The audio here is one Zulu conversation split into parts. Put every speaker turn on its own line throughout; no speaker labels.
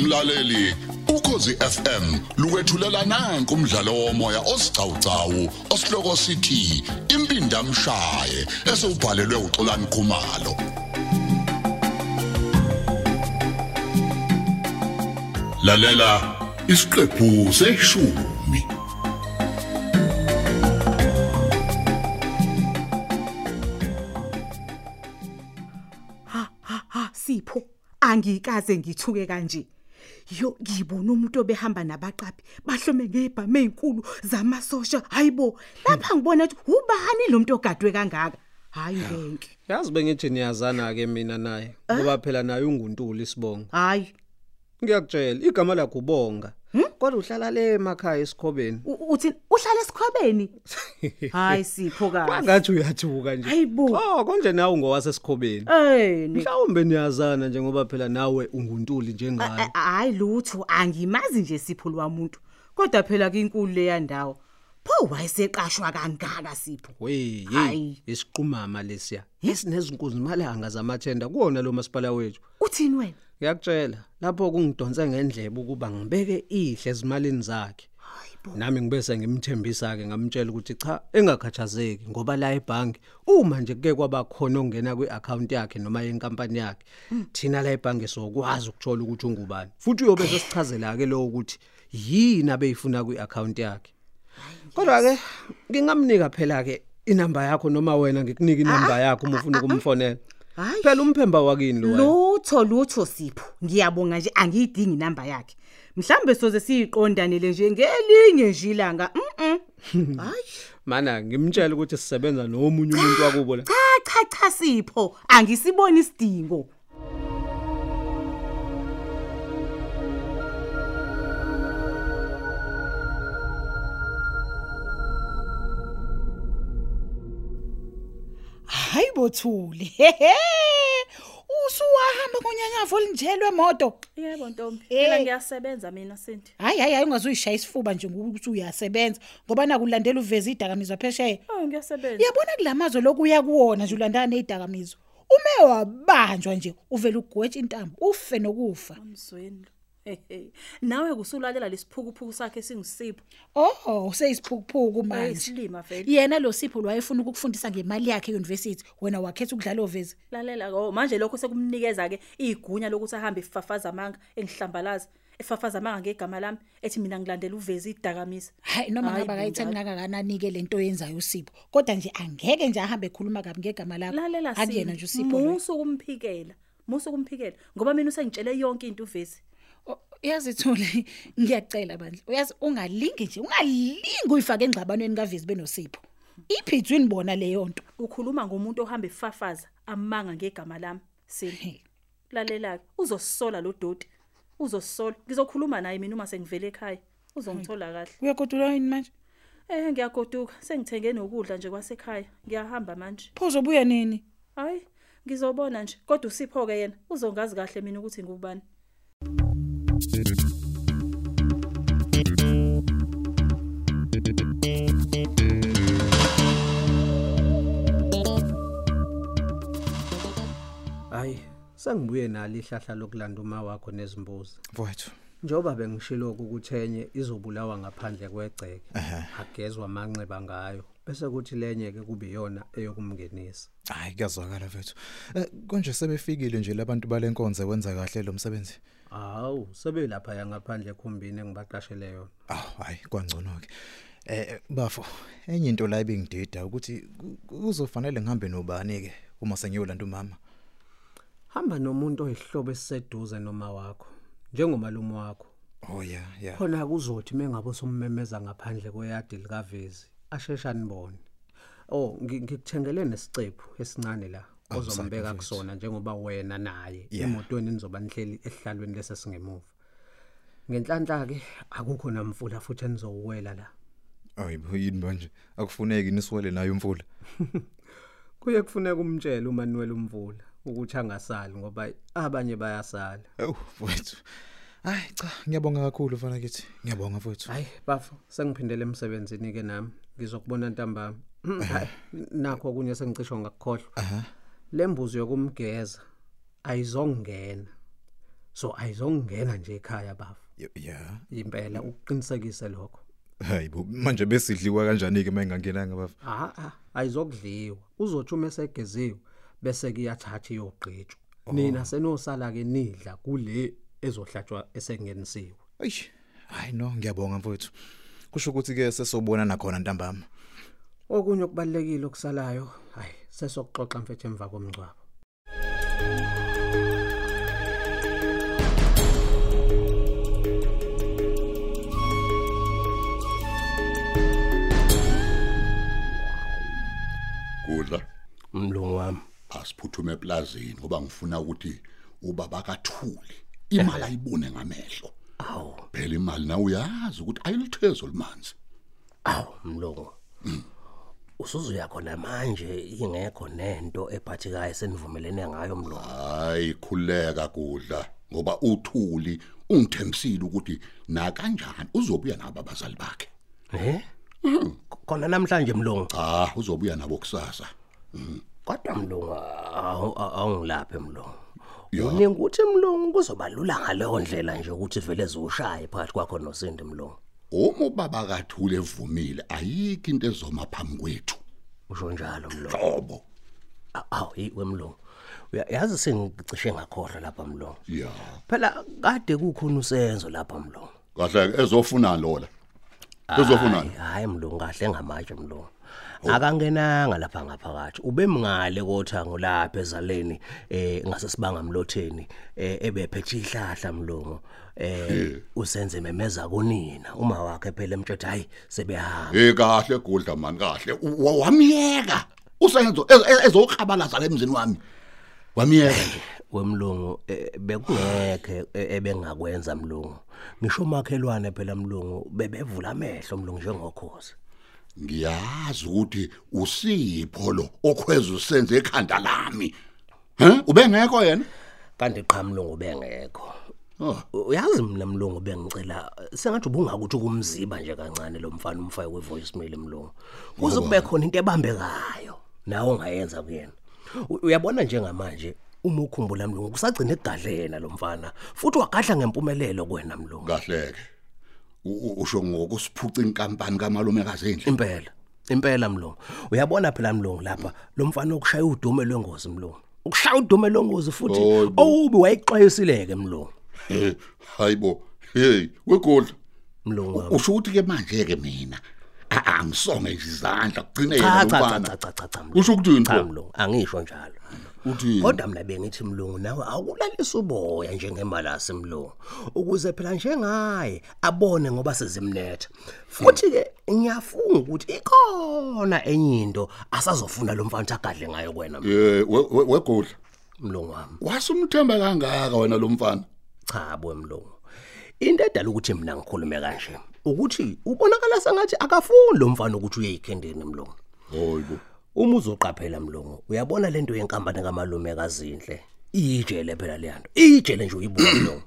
mlaleli ukhosi FM lukwethulela nanku umdlalo womoya osiqhawqhawo osihloko sithi impindi amshaye esubhalelwe uXolani Khumalo lalela isiqephu seshumi
Ah, Sipho angikaze ngithuke kanje yo ngibona umuntu obehamba nabaqaphi bahlome ngebhamu ezinkulu zamasosha hayibo lapha ngibona ukuthi ubani lo muntu ogadwe kangaka hayi benke
Yazi bengithi niyazana ke mina naye ngoba phela naye unguntuli sibonga.
hayi
Ngiyakutshela igama lakhe ubonga. Kodwa uhlala le emakhaya esikhobeni.
u- uthini uhlala esikhobeni hayi sipho kahle
Bangathi uyathuka nje.
Hayibo.
Oh konje nawe ngowase esikhobeni.
eh
Mhlawumbe niyazana nje ngoba phela nawe unguntuli njengayo.
hayi lutho angimazi nje sipho lwamuntu kodwa phela ke inkulu leya ndawo pho wayeseqashwa kangaka sipho
Wey, hey,
Hhayi.
isiqumama lesiya. Esinezinkuzimalanga zamathenda kuona lo masipala wethu.
uthini wena
Ngiyakutshela lapho kungidonse ngendlebe ukuba ngibeke ihle ezimalini zakhe.
hayibo
nami ngibese ngimthembisa ke ngamtshela ukuthi cha engakhathazeki ngoba la ebhangi uma nje kuke kwaba khona ongena kwiaccount yakhe noma yenkampani yakhe thina la ebhangi sokwazi ukuthola ukuthi ungubani futhi uyobe sesichazela ke lo ukuthi yini abeyifuna kwiaccount yakhe kodwa ke ngingamnika phela ke inamba yakho noma wena ngikunika inamba yakho uma ufuna ukumfonela
hayi
phela umphemba wakini lo wena
lutho lutho sipho ngiyabonga nje angiyidingi inamba yakhe mhlambe soze siyiqondanele nje ngelinye nje ilanga mhm hayi
mana ngimtshela ukuthi sisebenza nomunye umuntu wakubo la
cha cha cha sipho angisiboni isidingo
hayi bothuli hehe usuwahamba konyanyavo olinjelwe emoto
Yebo Ntombi,
Eh.
mina ngiyasebenza mina Sindi.
hayi hayi hayi ungazuyishaya isifuba nje ngokuthi uyasebenza ngoba nakulandela uveze idakamizwa phesheya
Oh ngiyasebenza.
yabona kulamazwe lokuya kuwona nje ulandana nezidakamizwa ume wabanjwa nje uvele ugwetshe intambo ufe nokufa
Mzweni lo. Ehhe. Nawe kusulalela lesiphukuphuku sakhe singisipho.
oh useyisiphukuphuku manje
Ayisilima vele.
yena lo sipho lwayefuna ukukufundisa ngemali yakhe euniversity wena wakhetha ukudlala oveze
Lalela ko manje lokho sekumnikeza ke igunya lokuthi ahambe efafaza amanga engihlambalaza. Efafaza amanga ngegama lami ethi mina ngilandela uvezi idakamisa.
hayi noma
Hayi
ngaba
bo,
kayithani
hayi.
kangakanani-ke lento oyenzayo usipho kodwa nje angeke nje ahambe ekhuluma kabi ngegama lakho
Lalela Sindi.
akuyena nje usipho loyo.
Musu kumphikela. Musu kumphikela ngoba mina usengitshele yonke into uvezi.
Oh, uyazi thule ngiyacela bandla uyazi ungalingi nje ungalingi uyifake engxabanweni kavezi benosipho iphithwini bona leyo nto
Ukhuluma ngomuntu ohamba efafaza amanga ngegama lami. Sindi.
He,
lalela ke uzosola lo dodi uzosola ngizokhuluma naye mina uma sengivele ekhaya uzongithola kahle
uyagodula yini manje
eh ngiyagoduka sengithenge nokudla nje kwasekhaya ngiyahamba manje
pho uzobuya nini
hayi ngizobona nje kodwa usipho ke yena uzongazi kahle mina ukuthi ngubani
hayi sengibuye nalo ihlahla lokulanda uma wakho nezimbuzi
mfowethu
njoba bengishilo ukuthi enye izobulawa ngaphandle kwegceke
Ehhe.
agezwe amanxeba ngayo bese kuthi lenye ke kube yona eyokumngenisa
hayi kuyazwakala mfethu Eh, konje sebefikile nje labantu balenkonzo wenza kahle lo msebenzi
awu sebelapha yangaphandle ekhumbini engibaqashele yona
aw hayi kwangcono ke eh bafo enye into la ibingidida ukuthi ku- kuzofanele ngihambe nobani ke uma sengiyolanda umama
hamba nomuntu oyihlobo esiseduze noma wakho njengomalume wakho
oh yeah yeah
khona kuzothi mengabe sommemeza ngaphandle kweyadi likavezi ashesha nibone oh ngi- ngikuthengele nesicephu esincane la ozombeka kusona njengoba wena naye
Yeah.
emotweni nizoba nihleli esihlalweni lesesingemuva ngenhlanhla ke akukho namfula futhi enizowuwela la
ayibo yini manje akufuneki nisiwele nayo imfula
kuye kufuneka umtshele uManuel umvula ukuthi angasali ngoba abanye bayasala
awu mfethu hayi cha ngiyabonga kakhulu mfana kithi ngiyabonga mfethu
hayi bafo sengiphindele emsebenzini ke nami ngizokubona ntambama Hhayi, nakho okunye sengicishe ngakukhohlwa
aha
lembuzi yokumgeza ayizongena so ayizongena nje ekhaya bafo
Y- yeah
impela uqinisekise lokho
hayibo manje besidliwa kanjani ke mayingangenanga bafo
a a ayizokudliwa uzothi uma esegeziwe bese kuyathatha iyogqitshwa nina senosala ke nidla kule ezohlatshwa esengenisiwe
eish hayi no ngiyabonga mfowethu kusho ukuthi ke sesobona nakhona ntambama
okunye okubalekile okusalayo hayi sesokuxoxa mfethu emva komngcwabo
Kudla
mlungu wami
asiphuthume eplazini ngoba ngifuna ukuthi ubaba kathuli imali ayibone ngamehlo.
awu
Phela imali nawe uyazi ukuthi ayiluthezo limanzi.
awu mlungu usuzuya khona manje ingekho nento ephathekayo senivumelene ngayo mlungu
Hayi khuleka kudla ngoba uthuli ungithembisile ukuthi na kanjani uzobuya nabo abazali bakhe.
he khona namhlanje mlungu
Cha, uzobuya nabo kusasa.
kodwa mlungu awu- awu- awungilaphe mlungu
Ya.
uninguthi mlungu kuzoba lula ngaleyo ndlela nje ukuthi vele ziwushaye phakathi kwakho nosindi mlungu
Uma ubaba kathuli evumile ayikho into ezoma phambi kwethu.
usho njalo mlungu
Hlobo.
A- awu yi wemlungu Uya- yazi sengicishe ngakhohlwa lapha mlungu
Yeah.
phela kade kukhona usenzo lapha mlungu
Kahle ke, ezofuna lola. Ezofuna.
Hayi, hayi mlungu kahle ngamatshe mlungu akangenanga lapha ngaphakathi ube mngale kothango lapha ezaleni eh ngasesibanga mlotheni eh ebephethe ihlahla mlungu eh usenze memeza kunina uma wakhe phela emtshethi hayi sebehamba
Eh kahle gudla man kahle. Wa- Wamiyeka. Usenzo ez- ez- ezokhabalaza lemzini wami. Wamiyeka nje.
wemlungu eh, bekungekhe eh, ebengakwenza mlungu ngisho makhelwane phela mlungu bebevula amehlo mlungu njengokhozi
Ngiyazi ukuthi usipho lo okhweza usenze ekhanda lami. Huh? Ubengekho yena?
kanti qha mlungu bengekho
Oh.
U- uyazi mina mlungu bengicela sengathi ubungakuthi kumziba nje kancane lo mfana umfayo wevoicemail mlungu kuze kube khona into ebambekayo nawe ongayenza kuyena U- uyabona njengamanje uma ukhumbula mlungu kusagcina ekugadla yena lo mfana futhi wagadla ngempumelelo kuwena mlungu
Kahle ke. U- u- Usho ngokusiphuca inkampani kamalumekazi endle.
impela impela mlungu uyabona phela mlungu lapha lo mfana okushaya udume lwengozi mlungu ukushaya udume lwengozi futhi
Hayi bo.
owubi wayexwayisileke mlungu
Eh, hayibo. Hey, wegudla.
mlungu wami.
Usho ukuthi ke manje ke mina a- angisonge izandla kugcine yena
cha cha
lo mfana.
cha cha cha cha cha Mlungu.
Usho ukuthini
cha
cha?
mlungu angisho njalo
Uthini?
kodwa mina bengithi mlungu nawe awulalisa uboya njengemalasi mlungu ukuze phela njengaye abone ngoba sezimnetha futhi ke ngiyafunga ukuthi ikhona enye into asazofuna lo mfana ukuthi agadle ngayo kwena
Eh, we- we- wegudla.
mlungu wami
Wasumthemba kangaka wena lo mfana?
cha bo mlungu into edala ukuthi mina ngikhulume kanje ukuthi ubonakala sengathi akafuni lo mfana ukuthi uyeyikhendeni mlungu
Hoyibo.
Uma uzoqaphela mlungu, uyabona lento yenkampani kamalume kaZinhle. Ijele phela leyanto. Ijele nje uyibuka lo.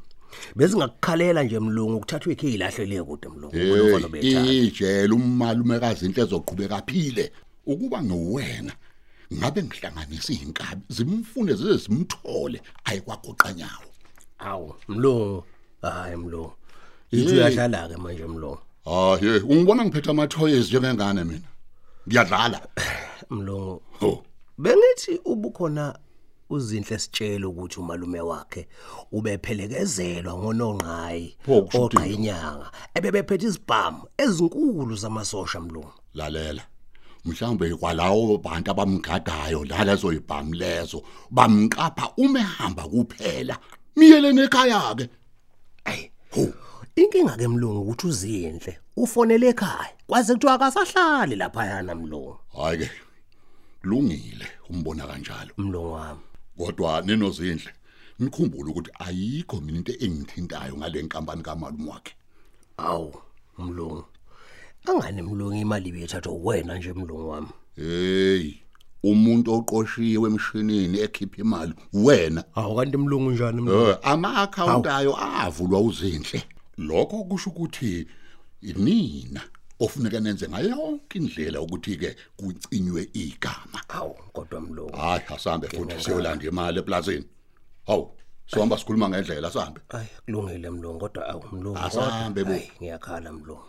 Bezingakukhalela nje mlungu ukuthathwe ikhe ilahlele kude mlungu. Kunomfana obethanda.
Ijele umalumekazi into ezoqhubeka phile. Ukuba ngowena ngabe ngihlanganisa izinkabi zimfune zize zimthole ayikwagoqanyawo.
Awu, mlungu. Hayi mlungu. Yithi uyadlala ke manje mlungu.
Ah hey, ungibona ngiphethe ama toys njengengane mina. Ngiyadlala.
Mlungu.
Ho.
Bengithi ubukhona uzinhle sitshela ukuthi umalume wakhe ubephelekezelwa ngonongqayi
Pho, kusho
oqa inyanga ebebephethe isibhamu ezinkulu zamasosha mlungu
Lalela. Mhlawumbe kwalawo bantu abamgadayo lala zoyibhamu lezo bamqapha uma ehamba kuphela. Miyelene ekhaya ke.
Ay. Inkinga ke mlungu ukuthi uzinhle ufonele ekhaya kwaze kuthiwa akasahlali lapha yana mlungu
Hayi ke. Kulungile umbona kanjalo.
mlungu wami.
kodwa nenozindle nikhumbule ukuthi ayikho mina into engithintayo ngale nkampani kamalume wakhe
Awu mlungu. Angani mlungu imali bethatha wena nje mlungu wami.
hey umuntu oqoshiwe emshinini ekhipha imali wena
Awu kanti mlungu njani mlungu?
Eh, ama-akhawunti ayo avulwa uzinhle lokho kusho ukuthi inina ofuneka nenze ngayo yonke indlela ukuthi-ke kucinywe igama
Awu kodwa mlungu.
hhayi asambe futhi siyolanda imali eplazini hawu sohamba sikhuluma ngendlela sihambe
Hayi kulungile mlungu kodwa awumlungu.
Asahambe bo.
Ngiyakhala mlungu.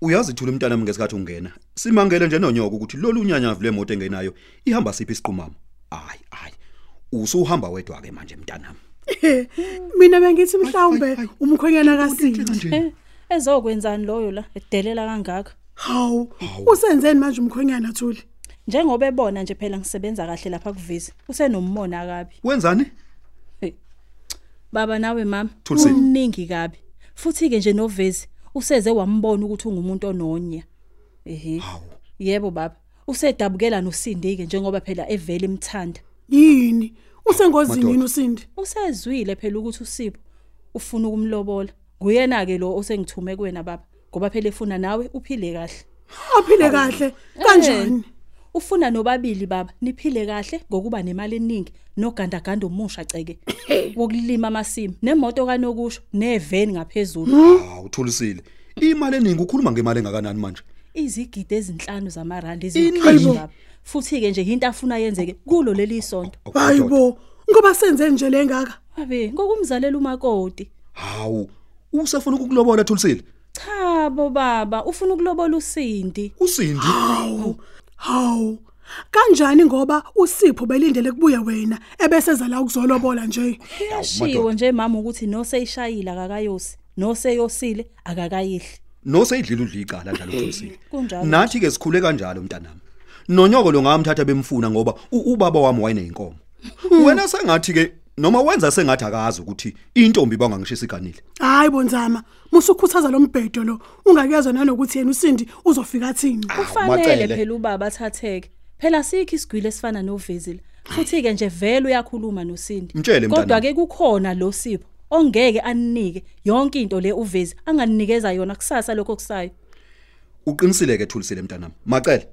uyazi thula umntana mnge sikathi ungena simangele nje nonyoko ukuthi lolu unyanyavu lemoto engenayo ihamba siphi isiqhumama hayi hayi usuhamba wedwa ke manje mntanami
mina bengithi mhlawumbe umkhwenyana kaSinti
Eh, ezokwenzani loyo la edelela kangaka
hawu usenzeni manje umkhwenyana thuli
njengoba ebona nje phela ngisebenza kahle lapha kuvisi usenommona akabi
wenzani
baba nawe mama
Thuliseni.
umningi kabi futhi ke nje novezi useze wambona ukuthi ungumuntu ononya ehe yebo baba usedabukela nosindike njengoba phela evele imthanda
yini usengozini
Madoda.
yini uSindi
usezwile phela ukuthi usipho ufuna ukumlobola nguyena ke lo osengithume kuwena baba ngoba phela efuna nawe uphile kahle Eh.
aphile kahle kanjani
ufuna nobabili baba niphile kahle ngokuba nemali eningi nogandaganda omusha ceke wokulima amasimu nemoto kanokusho neveni ngaphezulu
hawu thulisile imali eningi ukhuluma ngemali engakanani manje
izigidi ezinhlanu zamarandi izikhulu baba futhi ke nje into afuna yenzeke kulo leli sonto
hayibo ngoba senzeni nje lengaka
babe ngokumzalela umakoti
hawu usefuna ukukulobola thulisile
cha bo baba ufuna ukulobola usindi
usindi
hawu kanjani ngoba usipho belindele kubuye wena ebeseza la ukuzolobola nje
yashiwo nje mama ukuthi noseyishayila kakayosi noseyosile akakayihle
noseyidlile udla icala njalo thulisile
kunjalo.
nathi ke sikhule kanjalo mntanami nonyoko lo ngamthatha bemfuna ngoba u- ubaba wami wayeneyinkomo wena sengathi ke noma wenza sengathi akazi ukuthi intombi bangangishisa iganile
hayi bonzama musukhuthaza lo mbhedo lo ungakezwa nanokuthi yena uSindi uzofika athini
kufanele
umacele.
phela ubaba athatheke phela sikho isigwili esifana novezile futhi ke nje vele uyakhuluma nosindi
Mtshele mntanami.
kodwa ke kukhona lo sipho ongeke aninike yonke into le uvezi anganinikeza yona kusasa lokho kusayo
uqinisile ke thulisile mntanami macele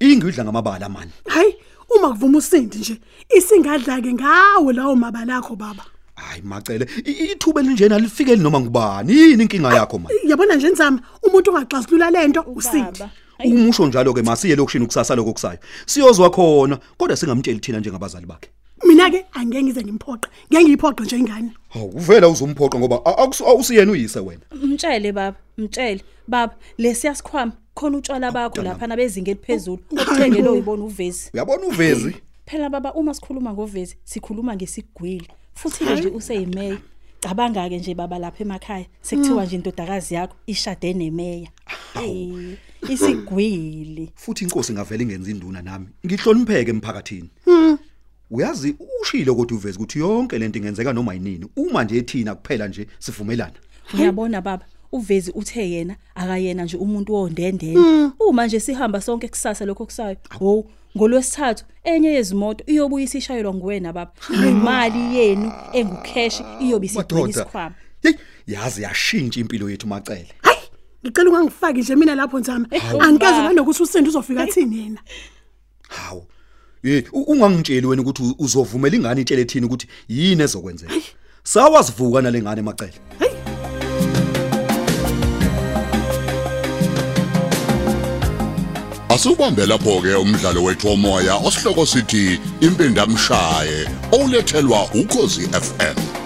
ingidla ngamabala mani
hayi uma kuvuma uSindi nje isingadla ke ngawo lawo mabala akho baba
hayi macele i- ithuba elinjena lifikeli noma ngubani yini inkinga yakho mani
yabona nje nzama umuntu ongaxazulula lento uSindi
umusho njalo ke masiye lokushini kusasa lokho kusayo siyozwa khona kodwa singamtsheli thina njengabazali bakhe
mina ke angeke ngize ngimphoqe ngeke ngiyiphoqe nje ingane
hawu uvela uzomphoqa ngoba a- akusu- awusiyena uyise wena
mtshele baba mtshele baba lesiyasikhwama khona utshwala bakho lapha nabezinga eliphezulu
Oh,
okuthengele uyibona uvezi
uyabona uvezi
phela baba uma sikhuluma ngovezi sikhuluma ngesigwili futhi ke nje useyimeya cabanga ke nje baba lapha emakhaya sekuthiwa nje indodakazi yakho ishade nemeya Eh, isigwili
futhi inkosi ngavele ingenza induna nami ngihlonipheke emphakathini uyazi ushilo kodwa uvezi ukuthi yonke lento ingenzeka noma yinini uma nje ethina kuphela nje sivumelana
uyabona baba uvezi uthe yena akayena nje umuntu wondendene uma nje sihamba sonke kusasa lokho kusayo wo ngolwesithathu enye yezimoto iyobuya isishayelwa nguwena baba imali yenu engukheshi iyobe isigcina isikhwama
yeyi yazi yashintsha impilo yethu macele
hayi ngicela ungangifaki nje mina lapho nzama angikeze nanokuthi uSindi uzofika athini yena
hawu ye u- ungangitsheli wena ukuthi u- uzovumela ingane itshele thina ukuthi yini ezokwenzeka sawazivuka nalengane macele
Asubambe lapho ke umdlalo wethu womoya osihloko sithi impindamshaye olethelwa ukozi FM